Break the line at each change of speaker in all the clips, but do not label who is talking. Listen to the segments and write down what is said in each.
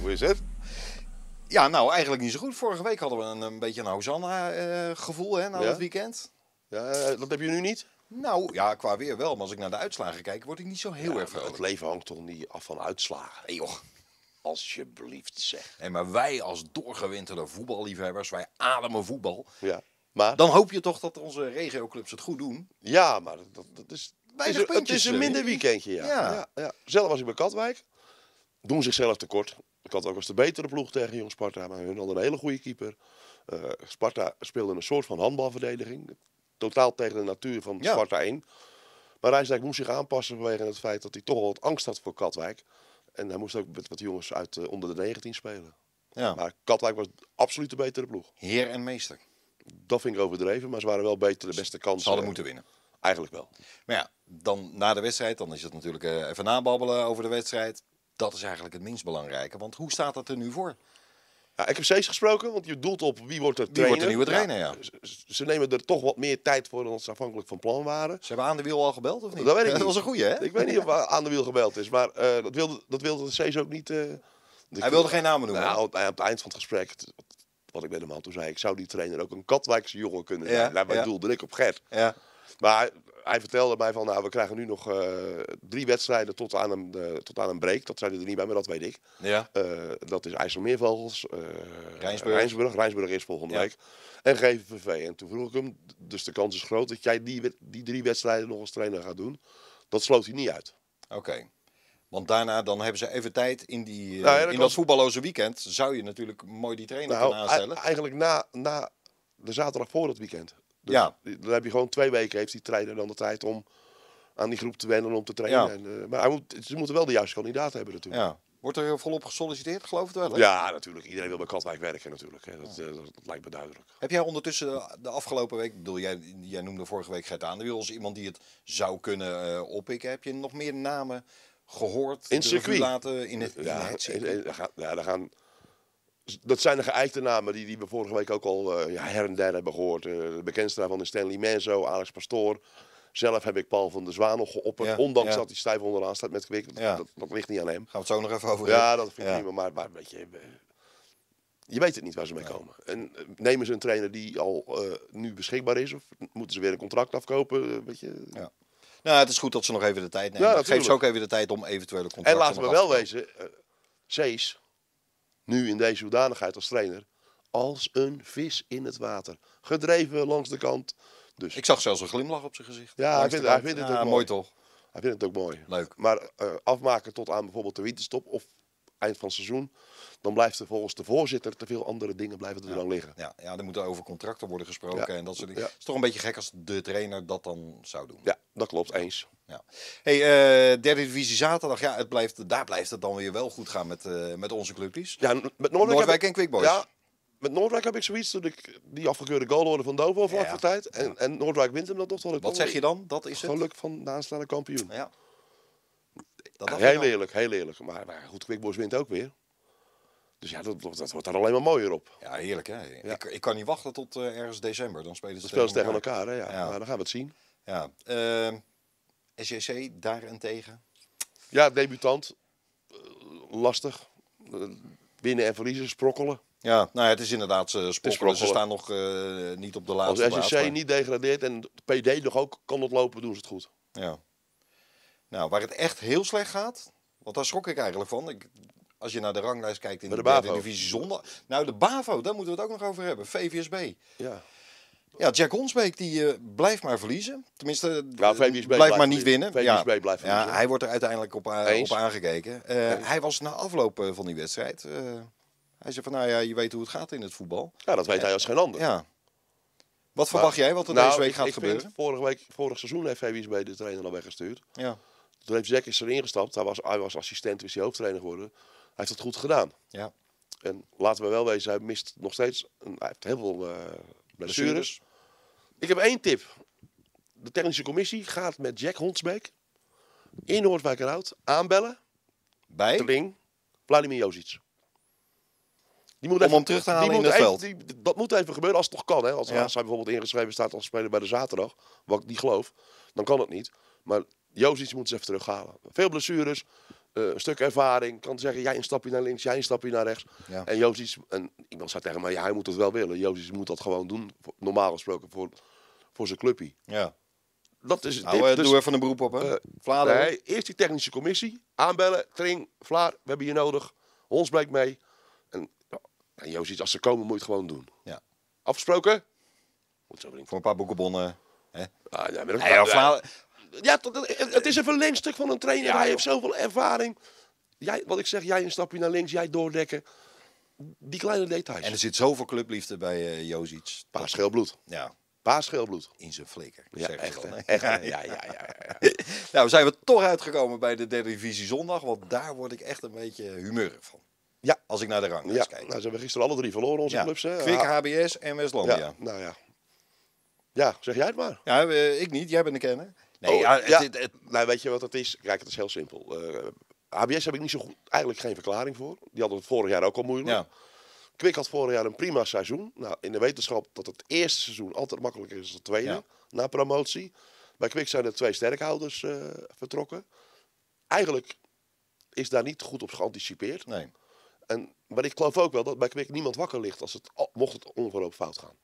Hoe is het? Ja, nou eigenlijk niet zo goed. Vorige week hadden we een, een beetje een Hosanna-gevoel hè na
Ja?
het weekend.
Ja, eh, dat heb je nu niet?
Nou ja, qua weer wel. Maar als ik naar de uitslagen kijk, word ik niet zo heel
Ja,
erg
maar
vrolijk.
het leven hangt toch niet af van uitslagen.
Nee joh.
Alsjeblieft zeg.
Nee, maar wij als doorgewinterde voetballiefhebbers, wij ademen voetbal.
Ja, maar,
Dan hoop je toch dat onze regioclubs het goed doen.
ja, maar dat, dat is, het is,
Weinig
een- het
puntjes,
is
eh.
een minder weekendje. Ja.
Ja.
Ja. Ja, Zelf was ik bij Katwijk. Doen zichzelf tekort. Katwijk was de betere ploeg tegen Jong Sparta. Maar hun hadden een hele goede keeper. Eh, Sparta speelde een soort van handbalverdediging. Totaal tegen de natuur van
Ja.
Sparta 1. Maar Rijsdijk moest zich aanpassen vanwege het feit dat hij toch al wat angst had voor Katwijk. En hij moest ook met wat jongens uit eh, onder de 19 spelen.
Ja.
Maar Katwijk was absoluut de betere ploeg.
Heer en meester.
Dat vind ik overdreven, maar ze waren wel beter de beste kansen.
Ze hadden moeten winnen.
Eigenlijk wel.
Maar ja, dan na de wedstrijd, dan is het natuurlijk eh, even nababbelen over de wedstrijd. Dat is eigenlijk het minst belangrijke. Want hoe staat dat er nu voor?
Ja, ik heb steeds gesproken, want je doelt op wie wordt er
Wie
trainer.
wordt de nieuwe trainer, ja.
ze- Ze, ze nemen er toch wat meer tijd voor dan ze afhankelijk van plan waren.
Ze hebben aan de wiel al gebeld of niet?
Dat weet ik niet.
was een goeie, hè?
Ik weet niet of aan de wiel gebeld is, maar eh, dat wilde, dat wilde de Cees ook niet. eh, de-
Hij wilde geen namen noemen.
Nou, aan het aan het eind van het gesprek, t- wat ik met hem had toen zei, ik zou die trainer ook een Katwijkse jongen kunnen zijn.
Ja,
nou, maar
ja.
doelde ik op Gert.
Ja.
Maar hij, hij vertelde mij van, nou, we krijgen nu nog eh, drie wedstrijden tot aan, een, eh, tot aan een break. Dat zijn er niet bij, maar dat weet ik.
ja.
Eh, dat is IJsselmeervogels, eh
Rijnsburg.
Rijnsburg. Rijnsburg. is volgende
Ja.
week. En GVV. En toen vroeg ik hem, dus de kans is groot dat jij die, wed- die drie wedstrijden nog als trainer gaat doen. Dat sloot hij niet uit.
Oké. Want daarna dan hebben ze even tijd in, die, eh,
Nou ja, dat
in
kan-
dat voetballoze weekend. Zou je natuurlijk mooi die trainer
Nou,
kunnen aanstellen.
ei- eigenlijk na, na de zaterdag voor het weekend. Dus
Ja.
Dan heb je gewoon twee weken, heeft die trainer dan de tijd om aan die groep te wennen, om te trainen.
Ja.
En, eh, maar hij moet, ze moeten wel de juiste kandidaat hebben natuurlijk.
ja. Wordt er volop gesolliciteerd, geloof het wel, hè?
Ja, natuurlijk. Iedereen wil bij Katwijk werken natuurlijk. Hè. Dat, eh, dat, dat lijkt me duidelijk.
Heb jij ondertussen de, de afgelopen week, ik bedoel, jij, jij noemde vorige week Gert aan de Wiel als iemand die het zou kunnen eh, oppikken. Heb je nog meer namen gehoord?
In
de revue
circuit.
Laten, in het, in
Ja,
het
en-
circuit?
en- daar gaan- ja, daar gaan, dat zijn de geëikte namen die, die we vorige week ook al eh, ja, her en der hebben gehoord. Eh, de bekendste daarvan is Stanley Menzo, Alex Pastoor. Zelf heb ik Paul van der Zwaan nog geopperd.
Ja,
ondanks
ja.
dat hij stijf onderaan staat met Kwik. Dat,
Ja.
dat, dat ligt niet aan hem.
Gaan we het zo nog even over
Ja,
hebben.
dat vind ik prima. Maar, maar weet je, eh, je weet het niet waar ze mee komen. En eh, nemen ze een trainer die al eh, nu beschikbaar is? Of moeten ze weer een contract afkopen? Eh, weet je?
Ja. Nou, het is goed dat ze nog even de tijd nemen.
Ja,
Dat geeft ze
natuurlijk.
ook even de tijd om eventuele
En
contracten
laten we
nog
wel
af te-
wezen, eh, Sees, nu in deze hoedanigheid als trainer, als een vis in het water. Gedreven langs de kant. Dus
Ik zag zelfs een glimlach op zijn gezicht.
Ja, hij
Langs de
vindt- hij
kant.
vindt het
Ja,
ook
mooi
mooi.
toch?
hij vindt het ook mooi.
Leuk.
Maar eh, afmaken tot aan bijvoorbeeld de winterstop of eind van het seizoen, dan blijft er volgens de voorzitter te veel andere dingen blijven er dan liggen.
Ja, ja, er moeten over contracten worden gesproken
Ja.
en dat soort dingen.
Ja.
Het is toch een beetje gek als de trainer dat dan zou doen.
Ja, dat klopt, eens.
Ja. Hey, eh, derde divisie zaterdag. Ja, het blijft, daar blijft het dan weer wel goed gaan met, eh, met onze clubjes.
Ja, n- met Noordwijk,
Noordwijk
heb ik-
en Quick Boys.
Ja, met Noordwijk heb ik zoiets toen ik die afgekeurde goal hoorde van Dovo vlak
Ja.
voor tijd. En, en Noordwijk wint hem dan toch.
Wat zeg je dan? Dat is het.
Geluk van de aanstaande kampioen.
Ja. Dat dacht ik
heel
al.
eerlijk, heel eerlijk. Maar, maar goed, Quickboys wint ook weer. Dus ja, dat, dat wordt daar alleen maar mooier op.
Ja, heerlijk hè. Ik, ik kan niet wachten tot eh, ergens december. Dan spelen ze
Dat spelen ze tegen elkaar, hè? Ja.
Ja.
Maar dan gaan we het zien.
Ja. Ehm SJC daarentegen.
Ja, debutant. Eh, lastig. Eh, winnen en verliezen, sprokkelen.
Ja, nou ja, het is inderdaad ze sprokkelen. Ze
sprokkelen.
staan nog eh, niet op de
Als
laatste plaats.
SEC
maar-
niet degradeert en de PD nog ook kan het lopen, doen ze het goed.
Ja. Nou, waar het echt heel slecht gaat, want daar schrok ik eigenlijk van. Ik, als je naar de ranglijst kijkt in
Bij
de,
de
derde
BAVO.
divisie zondag. Nou, de BAVO, daar moeten we het ook nog over hebben. VVSB.
Ja.
Ja, Jack Honsbeek die eh, blijft maar verliezen. Tenminste, eh,
Ja, VVSB
blijft,
blijft
maar niet
verliezen.
winnen. ja.
VVSB blijft
Ja,
verliezen.
hij wordt er uiteindelijk op, eh,
Eens.
op aangekeken. Eh, Hij was na afloop eh, van die wedstrijd. eh, hij zei van, nou ja, je weet hoe het gaat in het voetbal.
ja, dat weet hij als geen ander.
Ja. Wat verwacht jij wat er
Nou,
deze week
ik-
gaat
ik vind,
gebeuren?
Vorige week, vorig seizoen heeft VWSB de trainer al weggestuurd.
Ja.
Toen heeft Jack is erin gestapt. Hij was, hij was assistent, is hij hoofdtrainer geworden. Hij heeft het goed gedaan.
ja.
En laten we wel wezen, hij mist nog steeds. Een, hij heeft heel veel eh, blessures.
Blessures.
Ik heb één tip. De technische commissie gaat met Jack Hondsbeek in Noordwijk en Hout aanbellen.
Bij?
Tling, Vladimir Jozic. Die moet
Om hem terug te halen
die
in
moet
het
even- die- dat moet even gebeuren als het toch kan. Hè? Als,
Ja.
als hij bijvoorbeeld ingeschreven staat als speler bij de zaterdag, wat ik niet geloof, dan kan het niet. Maar Jozic moet ze even terughalen. Veel blessures, eh, een stuk ervaring. Kan zeggen, jij een stapje naar links, jij een stapje naar rechts.
Ja.
En Jozic, en iemand zei tegen mij, ja, hij moet het wel willen. Jozic moet dat gewoon doen, voor- normaal gesproken, voor, voor zijn clubje.
Ja.
Dat is het
Nou,
tip.
eh,
Dus-
doe even een beroep op, hè?
eh,
Vlaanderen.
Nee, eerst die technische commissie. Aanbellen, Kring, Vlaar, we hebben je nodig. Hons blijkt mee. En, ja, en Jozic, als ze komen, moet je het gewoon doen.
Ja.
Afgesproken? Moet zo denken.
Voor een paar boekenbonnen. Hè?
Ah, ja, maar dat-
Nee, ja, Vla-
ja, tot- het het is een verlengstuk van een trainer.
Ja,
hij
joh.
heeft zoveel ervaring. Jij, wat ik zeg, jij een stapje naar links, jij doordekken. Die kleine details.
En dus- er zit zoveel clubliefde bij eh Jozic.
Paars geel bloed.
Ja,
Paars geel bloed.
in zijn flikker.
Ja,
zeggen ze
echt.
dan,
hè?
hè?
echt hè? ja, ja, ja, ja.
Nou, zijn we toch uitgekomen bij de derde divisie zondag. Want daar word ik echt een beetje humeurig van.
Ja.
Als ik naar de
Ja,
ranglijst
nou,
kijk.
ze hebben gisteren alle drie verloren, onze
Ja,
clubs. Hè?
Kwik,
Ah,
HBS en
ja,
Westlandia. Ja,
nou ja. Ja, zeg jij het maar.
eh, ik niet. Jij bent de kenner. Nee,
Oh,
ja, het-
ja.
het- het-
Nou, weet je wat het is? Kijk, het is heel simpel. Eh, HBS heb ik niet zo goed, eigenlijk geen verklaring voor. Die hadden het vorig jaar ook al moeilijk.
ja.
Kwik had vorig jaar een prima seizoen. Nou, in de wetenschap dat het eerste seizoen altijd makkelijker is dan het tweede,
Ja.
na promotie. Bij Kwik zijn er twee sterkhouders eh, vertrokken. Eigenlijk is daar niet goed op geanticipeerd.
Nee.
En, maar ik geloof ook wel dat bij Kwik niemand wakker ligt als het, al- mocht het onverhoopt fout gaan.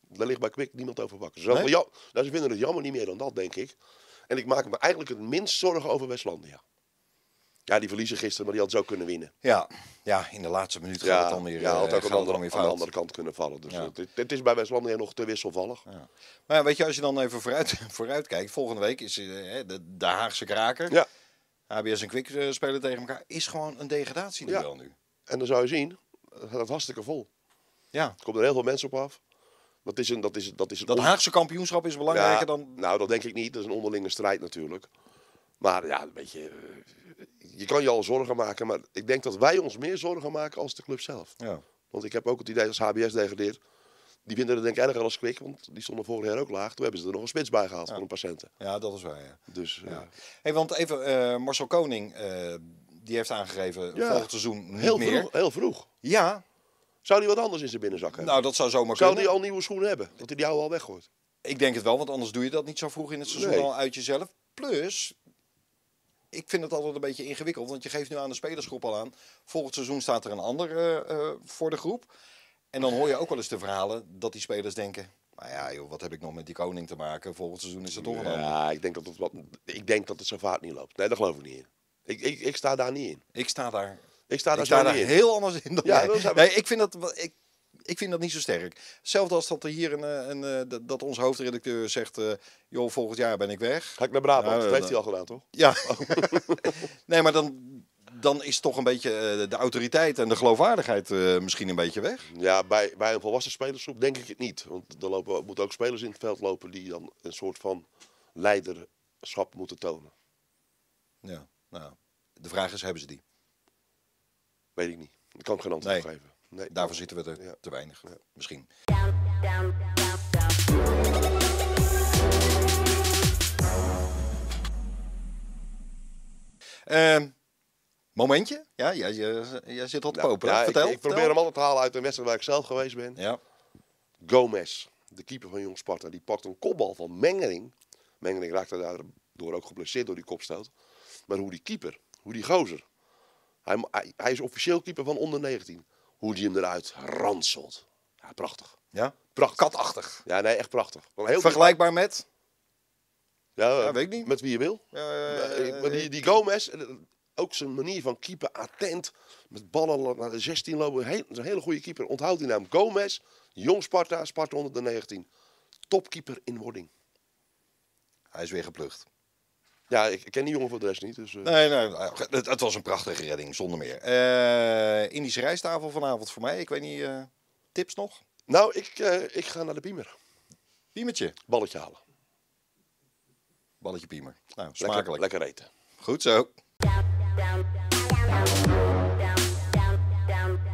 Daar ligt bij Kwik niemand over wakker. Ze,
Nee?
nee? nou, ze vinden het jammer niet meer dan dat, denk ik. En ik maak me eigenlijk het minst zorgen over Westlandia. Ja, die verliezen gisteren, maar die had zo kunnen winnen.
Ja. ja, in de laatste minuut gaat het dan weer,
ja,
eh,
had
gaat
ook
het
aan,
dan
de andere,
weer
aan
fout.
de andere kant kunnen vallen. Dus
Ja.
het, het is bij Westlandia nog te wisselvallig.
Ja. Maar ja, weet je, als je dan even vooruit, vooruit kijkt. Volgende week is eh, hè, de, de Haagse kraker.
Ja.
HBS en Kwik eh, spelen tegen elkaar. Is gewoon een degradatieduel nu.
En dan zou je zien, het gaat hartstikke vol.
Ja.
Er komen er heel veel mensen op af. Dat is een, dat is, dat is een
Dat
on-
Haagse kampioenschap is belangrijker
Ja,
dan...
Nou, dat denk ik niet. Dat is een onderlinge strijd natuurlijk. Maar ja, weet je, eh, je kan je al zorgen maken. Maar ik denk dat wij ons meer zorgen maken als de club zelf.
Ja.
Want ik heb ook het idee dat als HBS degradeert. Die vinden het denk ik erger als Kwik, want die stonden vorig jaar ook laag. Toen hebben ze er nog een spits bij gehaald van een patiënten.
ja, dat is waar, ja.
Dus eh,
Ja. Hey, want even, eh, Marcel Koning, eh, die heeft aangegeven
Ja.
volgend seizoen niet
heel,
meer.
vroeg, heel vroeg.
Ja,
Zou die wat anders in zijn binnenzak hebben?
nou dat zou zomaar
Zou
kunnen.
die al nieuwe schoenen hebben? Dat hij die oude al weggooit.
Ik denk het wel, want anders doe je dat niet zo vroeg in het seizoen
Nee.
al uit jezelf. Plus, ik vind het altijd een beetje ingewikkeld, want je geeft nu aan de spelersgroep al aan. Volgend seizoen staat er een ander eh, eh, voor de groep. En dan hoor je ook wel eens de verhalen dat die spelers denken... Nou ja, joh, wat heb ik nog met die koning te maken? Volgend seizoen is er toch een ander.
Ja, ik denk dat het, wat, ik denk dat het zo vaart niet loopt. Nee, daar geloof ik niet in. Ik, ik, ik sta daar niet in.
Ik sta daar
Ik sta daar,
Ik
zo
sta daar
niet in.
heel anders in dan
Ja,
jij.
dat zijn we-
nee, ik vind dat, wel- ik, ik vind dat niet zo sterk. Hetzelfde als dat er hier een, eh, een, eh, dat- dat onze hoofdredacteur zegt, eh, joh, volgend jaar ben ik weg.
Ga ik naar Brabant?
Nou,
dat
dat-
heeft hij al gedaan, toch?
Ja. nee, maar dan, dan is toch een beetje eh, de autoriteit en de geloofwaardigheid eh, misschien een beetje weg.
Ja, bij, bij een volwassen spelersgroep denk ik het niet. Want er lopen, moeten ook spelers in het veld lopen die dan een soort van leiderschap moeten tonen.
Ja, nou, de vraag is, hebben ze die?
Weet ik niet. Ik kan geen antwoord
Nee.
op geven. Nee.
Daarvoor zitten we er
Ja.
te weinig, misschien.
down, down, down, down.
Ehm, momentje? Ja, jij, jij, jij zit al te
Nou,
popelen.
ja, ik-
vertel.
ik, probeer hem
vertel.
altijd te halen uit een wedstrijd waar ik zelf geweest ben.
Ja,
Gomez, de keeper van Jong Sparta, die pakt een kopbal van Mengering. Mengering raakte daardoor ook geblesseerd door die kopstoot. Maar hoe die keeper, hoe die gozer. Hij, hij, hij is officieel keeper van onder 19. Hoe die hem eruit ranselt. Ja, prachtig.
ja.
Prachtig.
Katachtig.
Ja, nee, echt prachtig. Wel Heel
Vergelijkbaar met?
Ja, eh,
Ja, weet ik niet.
Met wie je wil.
Eh,
Eh, maar die, die Gomez, eh, ook zijn manier van keeper attent. Met ballen naar de 16 lopen. Heel, is een hele goede keeper. Onthoud die naam. Gomez, jong Sparta, Sparta onder de 19. Topkeeper in wording.
Hij is weer geplucht.
Ja, ik ik ken die jongen voor de rest niet. Dus, eh,
Nee, nee, nee, het, het was een prachtige redding, zonder meer. Eh, Indische rijsttafel vanavond voor mij. Ik weet niet, eh, tips nog?
Nou, ik, eh, ik ga naar de Piemer.
Piemertje.
Balletje halen. Lekker-
Balletje piemer. Nou, smakelijk.
Lekker, eten.
Goed zo.
down, down, down, down, down, down, down.